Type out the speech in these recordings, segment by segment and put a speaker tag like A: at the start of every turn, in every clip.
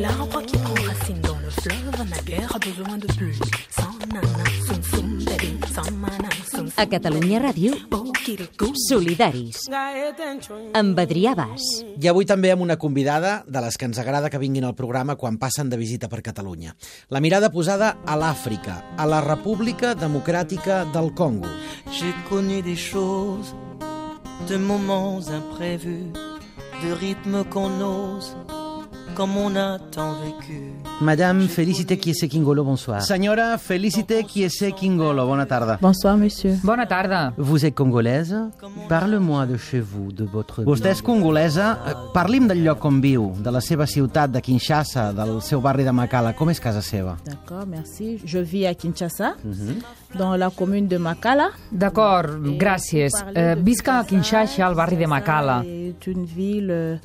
A: La roi qui prend racine dans le fleuve n'a guère besoin de plus. Sans nana, soum soum, dadin, sans mana, soum
B: A Catalunya Ràdio,
A: soum, kirikou.
B: Solidaris, amb Adrià Bas.
C: I avui també amb una convidada de les que ens agrada que vinguin al programa quan passen de visita per Catalunya. La mirada posada a l'Àfrica, a la República Democràtica del Congo.
D: J'ai connu des choses, de moments imprévus, de rythmes qu'on ose, comme on a tant vécu.
E: Madame Félicité Kiese Kingolo, bonsoir. Senyora Félicité Kiese Kingolo, bona tarda.
F: Bonsoir, monsieur.
G: Bona tarda.
E: Vous êtes congolaise? Parle-moi de chez vous, de votre... Vostè és congolesa? Eh, Parli'm del lloc on viu, de la seva ciutat, de Kinshasa, del seu barri de Makala. Com és casa seva?
F: D'accord, merci. Je vis à Kinshasa, dans la commune de Makala.
G: D'acord, gràcies. Eh, visc a Kinshasa, al barri de Makala.
F: C'est une ville euh,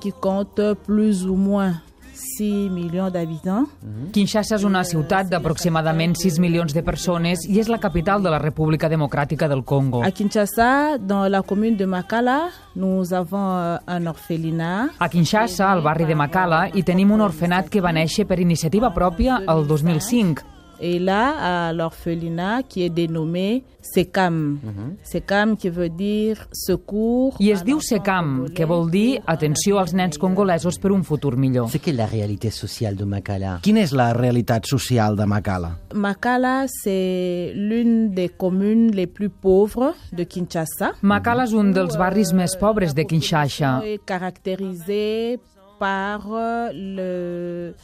F: qui compte plus ou moins 6 millions d'habitants.
G: Kinshasa és una ciutat d'aproximadament 6 milions de persones i és la capital de la República Democràtica del Congo.
F: À Kinshasa, dans la commune de Makala, nous avons euh, un orphelinat.
G: A Kinshasa, al barri de Makala, hi tenim un orfenat que va néixer per iniciativa pròpia el 2005.
F: Et là, à l'orphelinat qui est dénommé SECAM. SECAM qui veut dire secours.
G: I es diu SECAM, que vol dir atenció als nens congolesos per un futur millor.
E: C'est que la réalité sociale de Makala? Quina és la realitat social de Makala?
F: Makala, c'est l'une des communes les plus pauvres de Kinshasa.
G: Makala és un dels barris més pobres de Kinshasa.
F: est caractérisée par euh, le,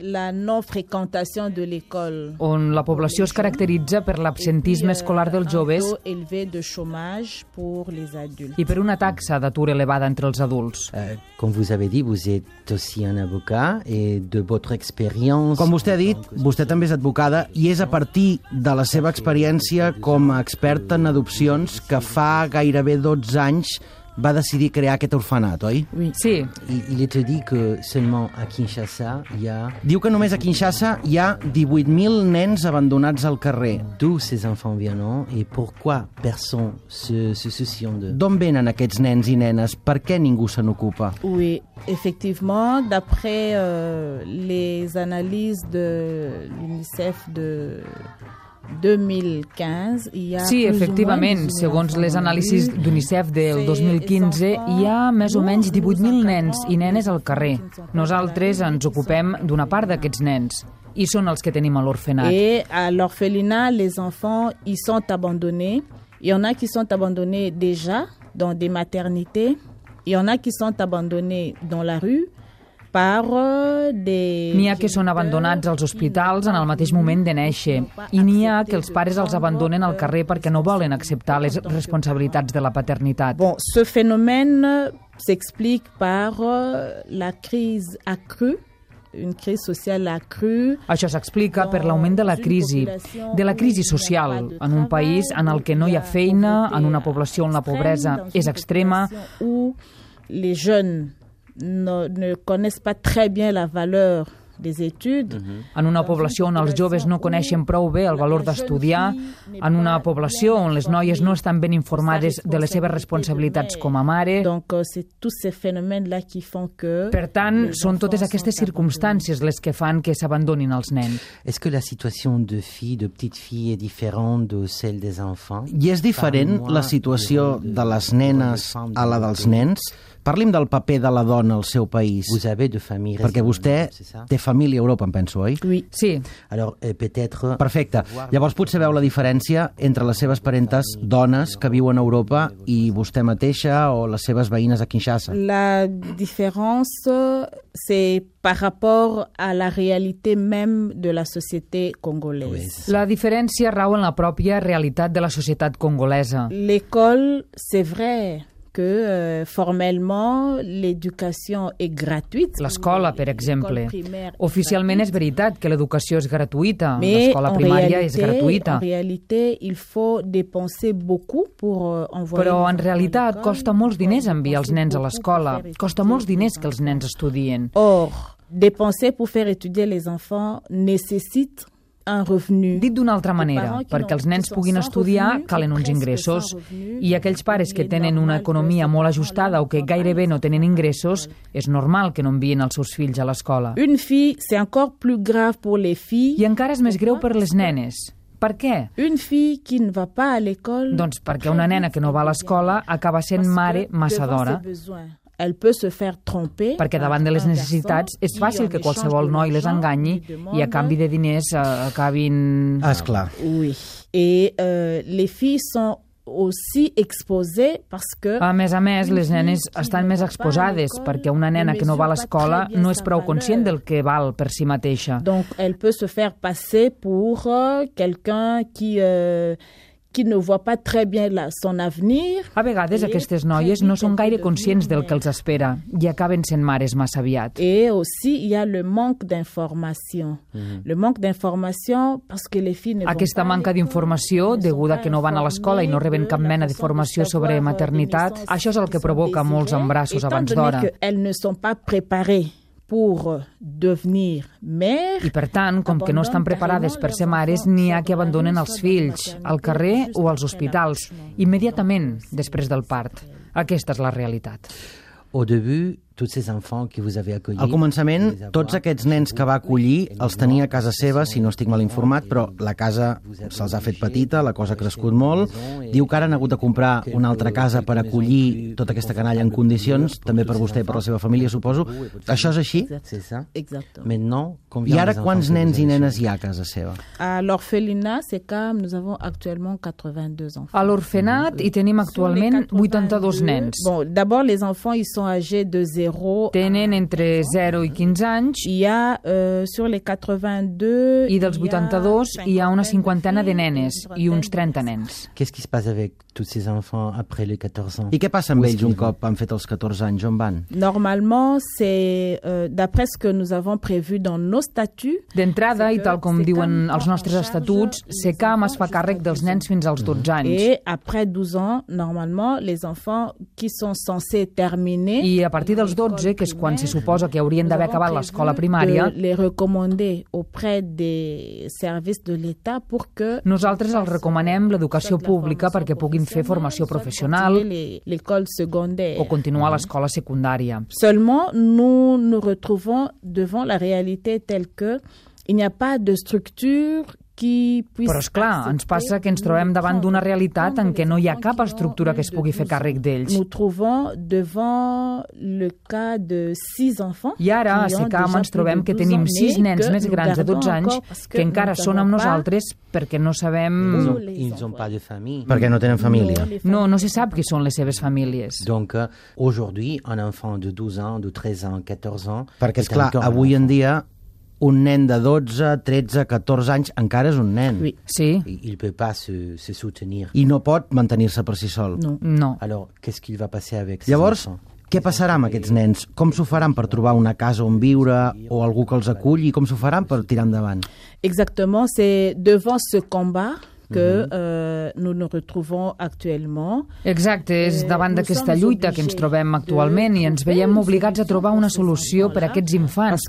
F: la non-fréquentation de l'école.
G: on la població es caracteritza per l'absentisme escolar dels joves
F: Un taux élevé de chômage pour les adultes.
G: i per una taxa d'atur elevada entre els adults.
E: Euh, comme vous avez dit, vous êtes aussi un avocat et de votre expérience...
H: Com vostè ha dit, vostè també és advocada i és a partir de la seva experiència com a experta en adopcions que fa gairebé 12 anys va decidir crear aquest orfenat, oi?
G: Sí,
E: Il, il était dit que seulement à Kinshasa, il y a
H: Diu que només a Kinshasa hi ha 18.000 nens abandonats al carrer.
E: d'où ces enfants viennent et pourquoi personne se, se soucie d'eux.
H: D'on venen aquests nens i nenes? Per què ningú se n'ocupa?
F: Oui, effectivement, d'après euh, les analyses de l'UNICEF de 2015, il y a plus
G: sí,
F: ou moins
G: efectivament,
F: 18 000
G: segons les
F: enfants
G: anàlisis
F: dans la rue.
G: d'UNICEF del 2015, hi ha més o menys 18.000 nens i nenes al carrer. Nosaltres ens ocupem d'una part d'aquests nens i són els que tenim a l'orfenat.
F: Et à l'orphelinat, les enfants, ils sont abandonnés. Il y en a qui sont abandonnés déjà dans des maternités. Il y en a qui sont abandonnés dans la rue par euh, des...
G: N'hi ha que són abandonats als hospitals en el mateix moment de néixer i n'hi ha que els pares els abandonen al carrer perquè no volen acceptar les responsabilitats de la paternitat.
F: Bon, ce phénomène euh, s'explique par euh, la crise accrue, une crise sociale accrue.
G: Això s'explica per l'augment de la crisi, de la crisi social, en un país en el que no hi ha feina, en una població on la pobresa és extrema.
F: Où les jeunes ne, ne connaissent pas très bien la valeur des études.
G: En una població on els joves no coneixen prou bé el valor d'estudiar, en una població on les noies no estan ben informades de les seves responsabilitats com a mare...
F: Donc, euh, c'est tous ces phénomènes-là qui font que...
G: Per tant, són totes aquestes circumstàncies les que fan que s'abandonin els nens.
E: Est-ce que la situation de filles, de petites filles est différente de celle des enfants
H: I és diferent la situació de les nenes a la dels nens? Parlim del paper de la dona al seu país.
E: Vous avez de familles
H: Perquè vostè
E: raisonnables, c'est ça
H: té família a Europa, em penso, oi?
F: Oui.
G: Sí,
E: Alors euh, peut-être
H: Perfecte. Llavors potser veu la diferència entre les seves parentes dones que viuen a Europa i vostè mateixa o les seves veïnes a Kinshasa.
F: La différence, euh, c'est par rapport à la réalité même de la société congolaise.
G: la diferència rau en la pròpia realitat de la societat congolesa.
F: L'école, c'est vrai que euh, formellement, l'éducation est gratuite.
G: L'escola, per exemple.
F: L'école primaire est
G: Oficialment és
F: gratuite,
G: veritat que l'educació és gratuïta,
F: Mais
G: l'escola
F: en
G: primària
F: réalité,
G: és
F: en
G: gratuïta,
F: réalité, il faut dépenser beaucoup pour euh, envoyer...
G: però
F: les
G: en
F: enfants à
G: realitat
F: l'école.
G: costa molts diners
F: Il faut
G: enviar els
F: dépenser
G: nens a
F: beaucoup
G: l'escola,
F: pour faire
G: costa
F: étudier
G: molts
F: les
G: diners que els
F: enfants.
G: nens estudien.
F: Or, dépenser pour faire étudier les enfants nécessite un revenu.
G: Dit d'una altra manera, perquè els nens puguin estudiar calen uns ingressos i aquells pares que tenen una economia molt ajustada o que gairebé no tenen ingressos, és normal que no envien els seus fills a l'escola.
F: Une fille, c'est encore plus grave pour les filles.
G: I encara és més greu per les nenes. Per què?
F: Une fille qui ne va pas à l'école.
G: Doncs perquè una nena que no va a l'escola acaba sent mare massa d'hora.
F: Elle peut se faire tromper.
G: Perquè davant de les necessitats és fàcil que qualsevol noi les enganyi i a canvi de diners eh, acabin...
H: És clar.
F: Oui. Et euh, les filles sont aussi exposées parce que...
G: A més a més, les nenes estan més exposades perquè una nena que no va a l'escola no és prou conscient del que val per si mateixa.
F: Donc, elle peut se faire passer pour euh, quelqu'un qui... Euh, qui ne voit pas très bien la, son avenir.
G: A vegades aquestes noies no són gaire conscients del que els espera i acaben sent mares massa aviat.
F: Et aussi, il y a le manque d'information. Mm -hmm. Le manque d'information parce que les filles ne
G: Mhm. Aquesta manca d'informació, deguda que no van a l'escola i no reben cap mena de formació sobre maternitat, això és el que provoca molts embarassos abans d'hora.
F: Elles ne sont pas préparées pour devenir mère.
G: I per tant, com que no estan preparades per ser mares, n'hi ha que abandonen els fills al carrer o als hospitals immediatament després del part. Aquesta és la realitat.
H: Au début, tots ces enfants que vous avez accueillis...
E: Al començament, tots aquests nens que va acollir els tenia a casa seva, si no estic mal informat, però la casa se'ls ha fet petita, la cosa ha crescut molt. Diu que ara han hagut de comprar una altra casa per acollir tota aquesta canalla en condicions, també per vostè i per la seva família, suposo. Això és així?
F: Exacte.
H: Maintenant,
E: I ara quants nens i nenes hi ha a casa seva?
F: À l'orphelinat, c'est comme nous avons actuellement 82 enfants.
G: A l'orfenat hi tenim actualment 82 nens.
F: Bon, d'abord, les enfants, ils sont âgés de 0 0
G: tenen entre 0 i 15 anys
F: hi ha eh, sur les 82
G: i dels 82 hi ha una cinquantena de nenes i uns 30 nens.
H: Qu'est-ce qui se passe avec tous ces enfants après les 14 ans?
E: I què passa amb ells un cop han fet els 14 anys? On van?
F: Normalment, c'est euh, d'après ce que nous avons prévu dans nos statuts.
G: D'entrada, i tal com diuen els nostres estatuts, SECAM es fa càrrec dels nens fins als 12 anys.
F: Et après 12 ans, normalement, les enfants qui sont censés terminer...
G: I a partir dels 12, que és quan se suposa que haurien d'haver acabat l'escola primària,
F: les recommander auprès des services de l'État pour que
G: nosaltres els recomanem l'educació pública perquè puguin fer formació professional
F: l'école secondaire
G: o continuar l'escola secundària.
F: Seulement, nous nous retrouvons devant la réalité telle que il n'y a pas de structure qui puisse...
G: Però, és clar, ens passa que ens trobem davant d'una realitat en què no hi ha cap estructura que es pugui fer càrrec d'ells.
F: Nous trouvons devant le cas de six enfants.
G: I ara, a SECAM, ens trobem que tenim sis nens més grans de 12 anys que encara són amb nosaltres perquè no sabem...
H: Ils ont pas de famille.
E: Perquè no tenen família.
G: No, no se sap qui són les seves famílies.
H: Mm. Donc, euh, aujourd'hui, un enfant de 12 ans, de 13 ans, 14 ans...
E: Perquè, esclar, avui en dia un nen de 12, 13, 14 anys encara és un nen.
G: Oui. Sí.
H: Il peut pas se, se soutenir.
E: I no pot mantenir-se per si sol.
F: No.
G: No.
H: Alors, qu'est-ce qu'il va passer avec
E: Llavors, què passarà amb aquests nens? Com s'ho faran per trobar una casa on viure o algú que els aculli? Com s'ho faran per tirar endavant?
F: Exactement, c'est devant ce combat que eh, nous nous retrouvons actuellement.
G: Exacte, és davant d'aquesta lluita que ens trobem actualment i ens veiem obligats a trobar una solució per a aquests infants.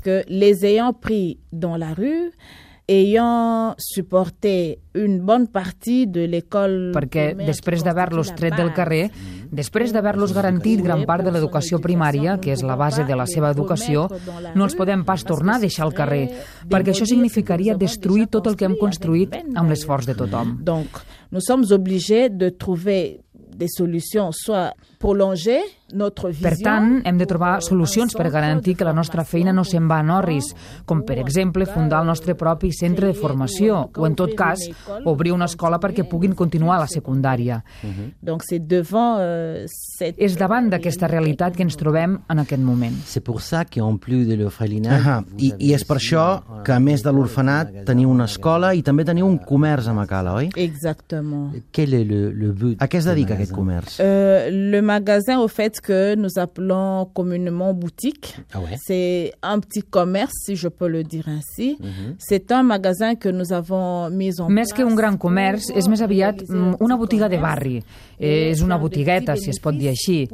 F: Parce que les ayant pris dans la rue, ayant supporté une bonne partie de l'école...
G: Mm-hmm. Perquè després d'haver-los tret del carrer, després d'haver-los garantit gran part de l'educació primària, que és la base de la seva educació, no els podem pas tornar a deixar al carrer, perquè això significaria destruir tot el que hem construït amb l'esforç de tothom.
F: Donc, nous sommes obligés de trouver des solutions, soit prolonger notre vision...
G: Per tant, hem de trobar solucions per garantir que la nostra feina no se'n va en orris, com per exemple fundar el nostre propi centre de formació o, en tot cas, obrir una escola perquè puguin continuar la secundària.
F: Donc c'est devant euh, cette...
G: És davant d'aquesta realitat que ens trobem en aquest moment.
H: C'est pour ça qu'en plus de
E: Ahà,
H: l'orphelinat...
E: Ah, i, I és per això que, a més de l'orfenat, teniu una escola i també teniu un comerç a Macala, oi?
F: Exactement.
H: Quel est le, le but
E: A què es dedica aquest comerç?
F: Euh, le magasin, au fait, que nous appelons communément boutique.
C: Ah ouais?
F: C'est un petit commerce, si je peux le dire ainsi. C'est un magasin que nous avons mis en
G: Més
F: place.
G: que un gran comerç, és més aviat mm, una botiga de barri. Eh, És una botigueta, si es pot dir així.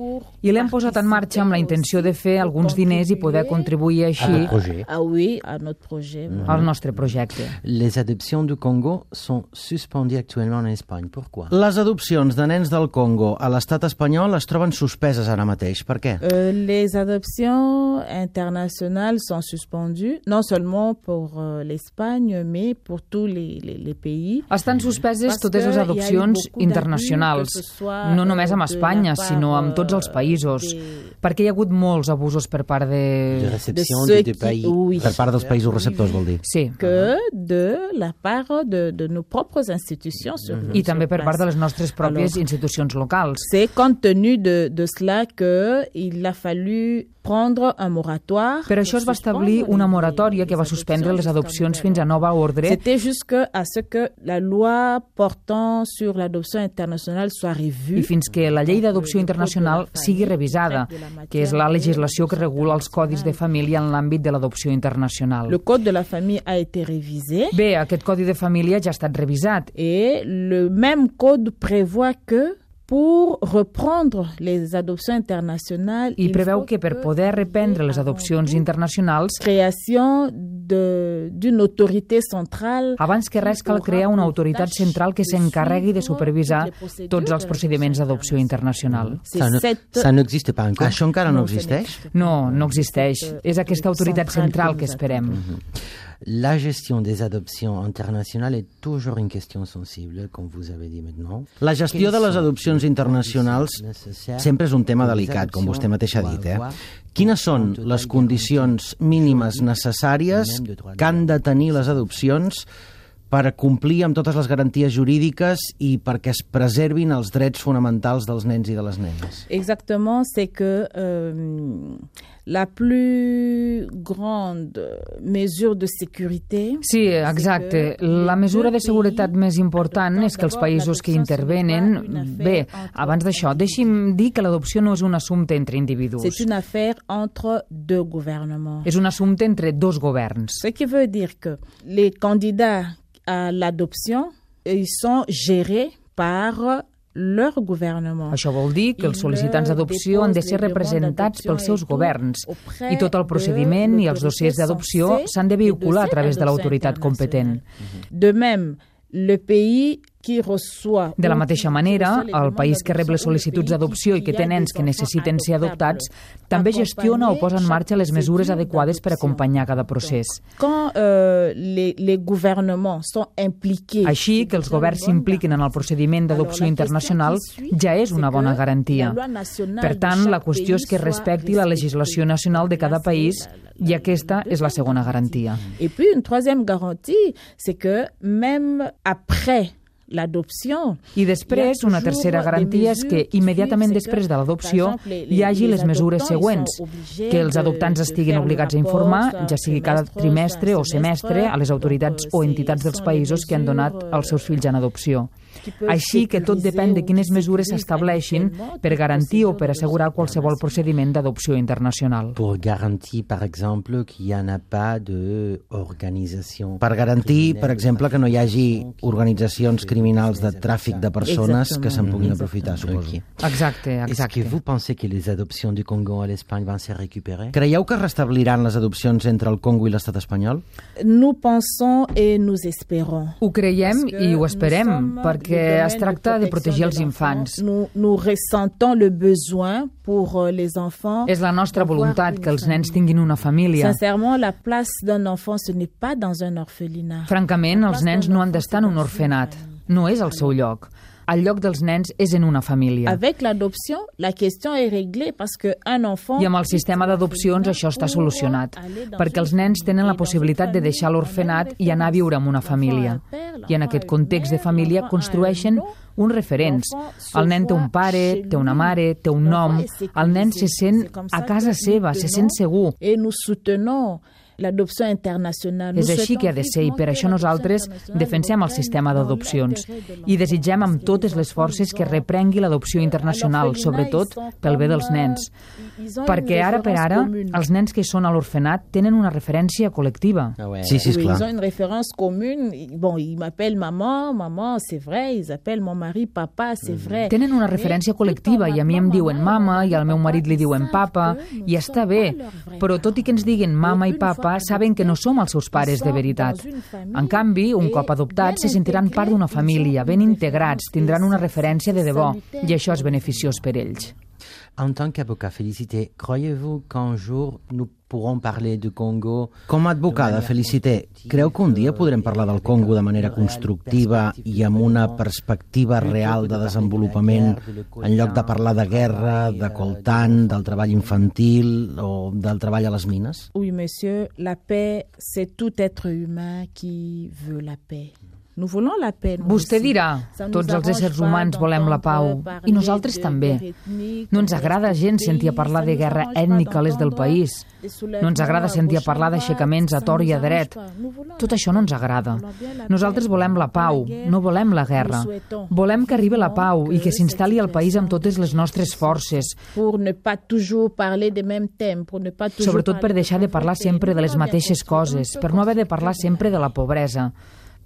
G: I l'hem posat en marxa amb la intenció de fer alguns diners i poder contribuir així
C: Roger.
F: Ah oui, à notre projet.
G: al nostre projecte.
D: Les adoptions du Congo sont suspendues actuellement en Espagne. Pourquoi
E: Les adopcions de nens del Congo a l'estat espanyol es troben suspeses ara mateix. Per què?
F: Euh, les adoptions internationales sont suspendues, non seulement pour euh, l'Espagne, mais pour tous les, les- les pays.
G: Estan suspeses totes les adopcions internacionals, no només amb Espanya, sinó amb tots els països, perquè hi ha hagut molts abusos per part
D: De
G: de...
D: réception
F: ceux qui-
D: de, de pays.
F: oui.
E: Per part dels països receptors, vol dir.
G: Sí,
F: que de la part de, de nos propres institutions. sur-
G: i
F: sur
G: també per part de
F: place.
G: les nostres pròpies institucions locals.
F: C'est compte tenu de, de cela que il a fallu prendre un moratoire.
G: Per això es va establir una moratòria que va suspendre les adopcions fins a nova ordre
F: C'était jusque à ce que la loi portant sur l'adoption internationale soit revue.
G: i fins que la llei d'adopció internacional sigui revisada, que és la legislació que regula els codis de família en l'àmbit de l'adopció internacional.
F: Le code de la famille a été révisé
G: Bé, aquest codi de família ja ha estat revisat
F: et le même code prévoit que pour reprendre les adoptions internationales,
G: i
F: il
G: preveu
F: faut
G: que per poder reprendre les adopcions internacionals,
F: création de- d'une autorité centrale
G: abans que res cal crear una autoritat central que s'encarregui de supervisar tots els procediments d'adopció internacional.
F: C'est
D: Ça ne-
F: cette-
D: ça n'existe pas encore.
E: Això encara no
F: ce
E: existeix?
F: n'existe
G: No, no existeix. És aquesta autoritat central que esperem.
D: La gestion des adoptions internationales est toujours une question sensible, comme vous avez dit maintenant.
E: La gestió de les adopcions internacionals sempre és un tema delicat, com vostè mateix ha dit. Eh? Quines són les condicions mínimes necessàries que han de tenir les adopcions per complir amb totes les garanties jurídiques i perquè es preservin els drets fonamentals dels nens i de les nenes?
F: Exactement, c'est que euh, la plus grande mesure de sécurité.
G: Sí, exacte. La mesura de seguretat més important és que els països que intervenen... Bé, abans d'això, deixi'm dir que l'adopció no és un assumpte entre
F: C'est
G: individus.
F: une affaire entre deux gouvernements.
G: És un assumpte entre dos governs.
F: Ce qui veut dire que les candidats à l'adoption, ils sont gérés par leur gouvernement.
G: Això vol dir que els sol·licitants d'adopció han de ser representats pels seus governs i tot el procediment i els dossiers d'adopció s'han de vehicular a través de l'autoritat competent.
F: De même, le pays qui reçoit...
G: De la mateixa manera, el país que rep les sol·licituds d'adopció i que té nens que necessiten ser adoptats també gestiona o posa en marxa les mesures adequades per acompanyar cada procés.
F: Quand euh, les, les gouvernements sont impliqués...
G: Així que els governs s'impliquen en el procediment d'adopció internacional ja és una bona garantia. Per tant, la qüestió és que respecti la legislació nacional de cada país i aquesta és la segona garantia.
F: Et puis une troisième garantie, c'est que même après l'adoption,
G: I després, una tercera garantia és que immediatament després de l'adopció hi hagi les mesures següents, que els adoptants estiguin obligats a informar, ja sigui cada trimestre o semestre, a les autoritats o entitats dels països que han donat els seus fills en adopció. Així que tot depèn de quines mesures s'estableixin per garantir o per assegurar qualsevol procediment d'adopció internacional.
D: Pour garantir, par exemple, qu'il n'y en a pas d'organisation.
E: Per garantir, per exemple, que no hi hagi organitzacions criminals de tràfic de persones que se'n puguin aprofitar, suposo.
G: Exacte,
D: Est-ce que
G: exacte.
D: vous pensez que les adoptions du Congo à l'Espagne vont se récupérer
E: Creieu que es restabliran les adopcions entre el Congo i l'estat espanyol?
F: nous pensons et nous espérons.
G: Ho creiem i ho esperem, perquè es tracta de protegir els infants.
F: Nous, nous ressentons le besoin pour euh, les enfants.
G: És la nostra voluntat que els nens tinguin una família.
F: Sincèrement, la place d'un enfant, ce n'est pas dans un orphelinat.
G: Francament, els nens no han d'estar en un orfenat. No és el seu lloc. El lloc dels nens és en una família.
F: Avec l'adoption, la question est réglée parce qu'un enfant...
G: I amb el sistema d'adopcions això està solucionat, perquè els nens tenen la possibilitat de deixar l'orfenat i anar a viure amb una família. I en aquest context de família construeixen uns referents. El nen té un pare, té una mare, té un nom. El nen se sent a casa seva, se sent segur.
F: Et nous soutenons l'adopció internacional.
G: És així que ha de ser i per això nosaltres defensem el sistema d'adopcions i desitgem amb totes les forces que reprengui l'adopció internacional, sobretot pel bé dels nens. Perquè ara per ara els nens que són a l'orfenat tenen una referència col·lectiva.
E: Sí, sí, esclar.
F: Ils ont une référence commune. Bon, ils m'appellent maman, maman, c'est vrai. Ils appellent mon mari papa, c'est vrai.
G: Tenen una referència col·lectiva i a mi em diuen mama i al meu marit li diuen papa i està bé, però tot i que ens diguin mama i papa, saben que no som els seus pares de veritat. En canvi, un cop adoptats, se sentiran part d'una família, ben integrats, tindran una referència de debò i això és beneficiós per ells.
D: En tant qu'avocat, Félicité, croyez-vous qu'un jour nous pourrons parler du Congo
E: Com a advocada, Felicité, creu que un dia podrem parlar del Congo de manera constructiva i amb una perspectiva real de desenvolupament en lloc de parlar de guerra, de coltant, del treball infantil o del treball a les mines?
F: Oui, monsieur, la paix, c'est tout être humain qui veut la paix. Nous voulons la paix.
G: Vostè dirà, tots els éssers humans volem la pau, i nosaltres també. No ens agrada gens sentir a parlar de guerra ètnica a l'est del país. No ens agrada sentir a parlar d'aixecaments a tor i a dret. Tot això no ens agrada. Nosaltres volem la pau, no volem la guerra. Volem que arribi la pau i que s'instal·li al país amb totes les nostres forces. Sobretot per deixar de parlar sempre de les mateixes coses, per no haver de parlar sempre de la pobresa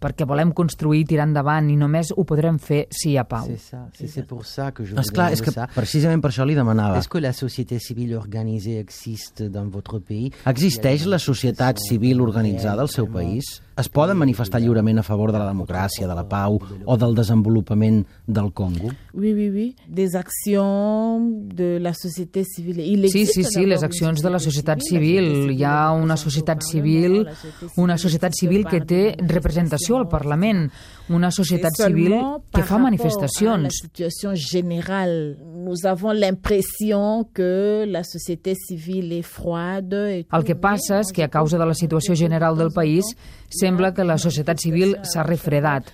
G: perquè volem construir, tirar endavant i només ho podrem fer si hi ha pau.
D: C'est ça, c'est pour ça que je
E: Ah, Esclar, és que Ah. precisament per això li demanava.
D: Est-ce que la société civile organisée existe dans votre pays?
E: Existeix la societat civil organitzada al seu país? Es poden manifestar lliurement a favor de la democràcia, de la pau o del desenvolupament del Congo?
F: Oui, oui, oui. Des accions de la société civile. Il
G: Sí, sí, sí, les accions de la societat civil. Hi ha una societat civil, una societat civil que té representació al Parlament, una societat civil que fa
F: La
G: manifestacions.
F: situation générale, nous avons l'impression que la société civile est froide. Et
G: El que passa és que a causa de la situació general del país sembla que la societat civil s'ha refredat.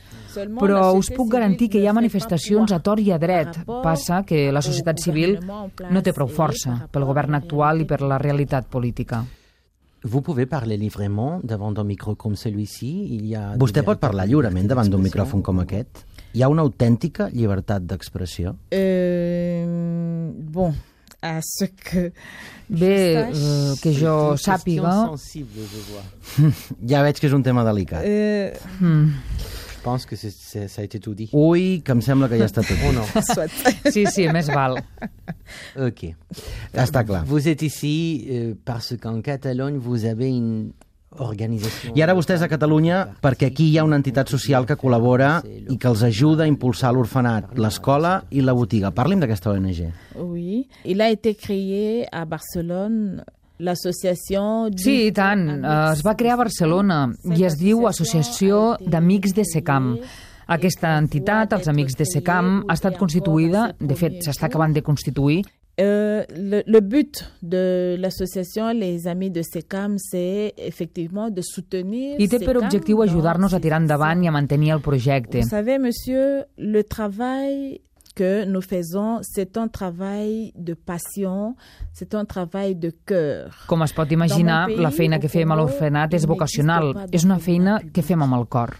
G: Però us puc garantir que hi ha manifestacions a tor i a dret. Passa que la societat civil no té prou força pel govern actual i per la realitat política.
D: Vous pouvez parler librement devant un micro comme celui-ci. Il y a
E: Vostè pot parlar lliurement davant d'un micròfon com aquest? Hi ha una autèntica llibertat d'expressió?
F: Euh, bon, à ce que...
G: Bé, eh, que jo sàpiga,
D: sensible, je vois.
E: Ja veig que és un tema delicat.
F: Euh,
D: Je pense que c'est- c'est- ça a été tout dit.
E: Ui, que em sembla que ja està tot. Oh, no.
F: soit.
G: sí, sí, més val.
D: Ok.
E: Està clar.
D: Vous êtes ici euh, parce qu'en Catalogne, vous avez une organisation...
E: I ara vostès a Catalunya, perquè aquí hi ha una entitat social que col·labora i que els ajuda a impulsar l'orfenat, l'escola i la botiga. Parli'm d'aquesta ONG.
F: Oui, il a été créé à Barcelone l'association du-
G: Sí, i tant. Eh, Es va crear a Barcelona i es diu Associació d'Amics de Secam. Aquesta entitat, els Amics de Secam, ha estat constituïda, de fet, s'està acabant de constituir,
F: Euh, le, le but de l'association Les Amis de SECAM, c'est effectivement de soutenir.
G: i té per
F: SECAM
G: objectiu
F: dans
G: ajudar-nos a
F: ses-
G: tirar endavant i a mantenir el projecte.
F: Vous savez, monsieur, le travail que nous faisons, c'est un travail de passion, c'est un travail de cœur.
G: Com es pot imaginar, la feina que fem a l'orfenat és vocacional, és una feina que fem amb el cor.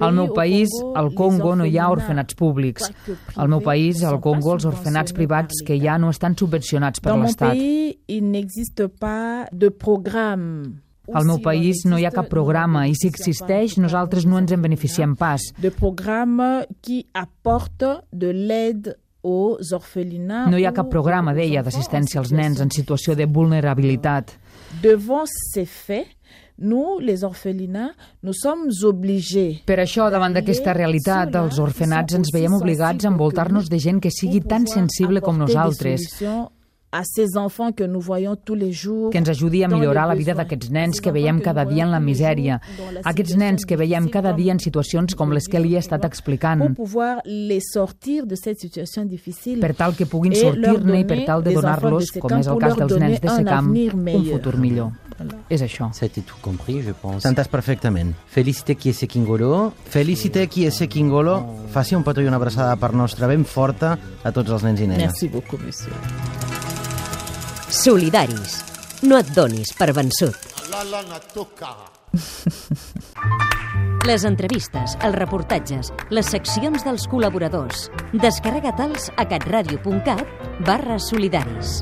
G: Al meu país, al Congo, no hi ha orfenats públics. Al meu país, al Congo, els orfenats privats que hi ha no estan subvencionats per
F: Dans mon
G: l'Estat.
F: pays, il n'existe pas de programme.
G: Al meu país no hi ha cap programa i si existeix nosaltres no ens en beneficiem pas.
F: de programme qui apporte de l'aide aux orphelinats.
G: No hi ha
F: ou
G: cap programa,
F: aux
G: deia,
F: enfants
G: d'assistència als
F: en
G: nens en
F: situació
G: situació de vulnerabilitat.
F: Devant ces faits, nous, les orphelinats, nous sommes obligés.
G: Per això, davant d'aquesta realitat, els orfenats ens veiem obligats a envoltar-nos de gent que sigui tan sensible com nosaltres,
F: a ces enfants que nous voyons tous les jours,
G: que ens ajudi a millorar la vida d'aquests nens que veiem cada dia en la misèria, aquests nens que veiem cada dia en situacions com les que li he estat
F: pour
G: explicant,
F: pouvoir les sortir de cette situation difficile.
G: per tal que puguin
F: Et leur
G: sortir-ne i per
F: donner
G: tal de
F: Eh, des enfants
G: donar-los,
F: de
G: com
F: Secam,
G: és el
F: pour
G: cas
F: leur
G: dels nens de
F: donner un
G: Secam,
F: avenir
G: un
F: meilleur.
G: futur millor. És això.
D: Ça a été tout compris, je pense.
E: T'entàs perfectament.
D: Félicité Kiesekingolo.
E: Felicite qui ese Kingolo, faci un petó i una abraçada per nostra ben forta a tots els nens i nenes.
F: Merci beaucoup, monsieur.
B: Solidaris. No et donis per vençut.
I: lala natoka.
B: Les entrevistes, els reportatges, les seccions dels col·laboradors. Descarrega-te'ls a catradio.cat barra solidaris.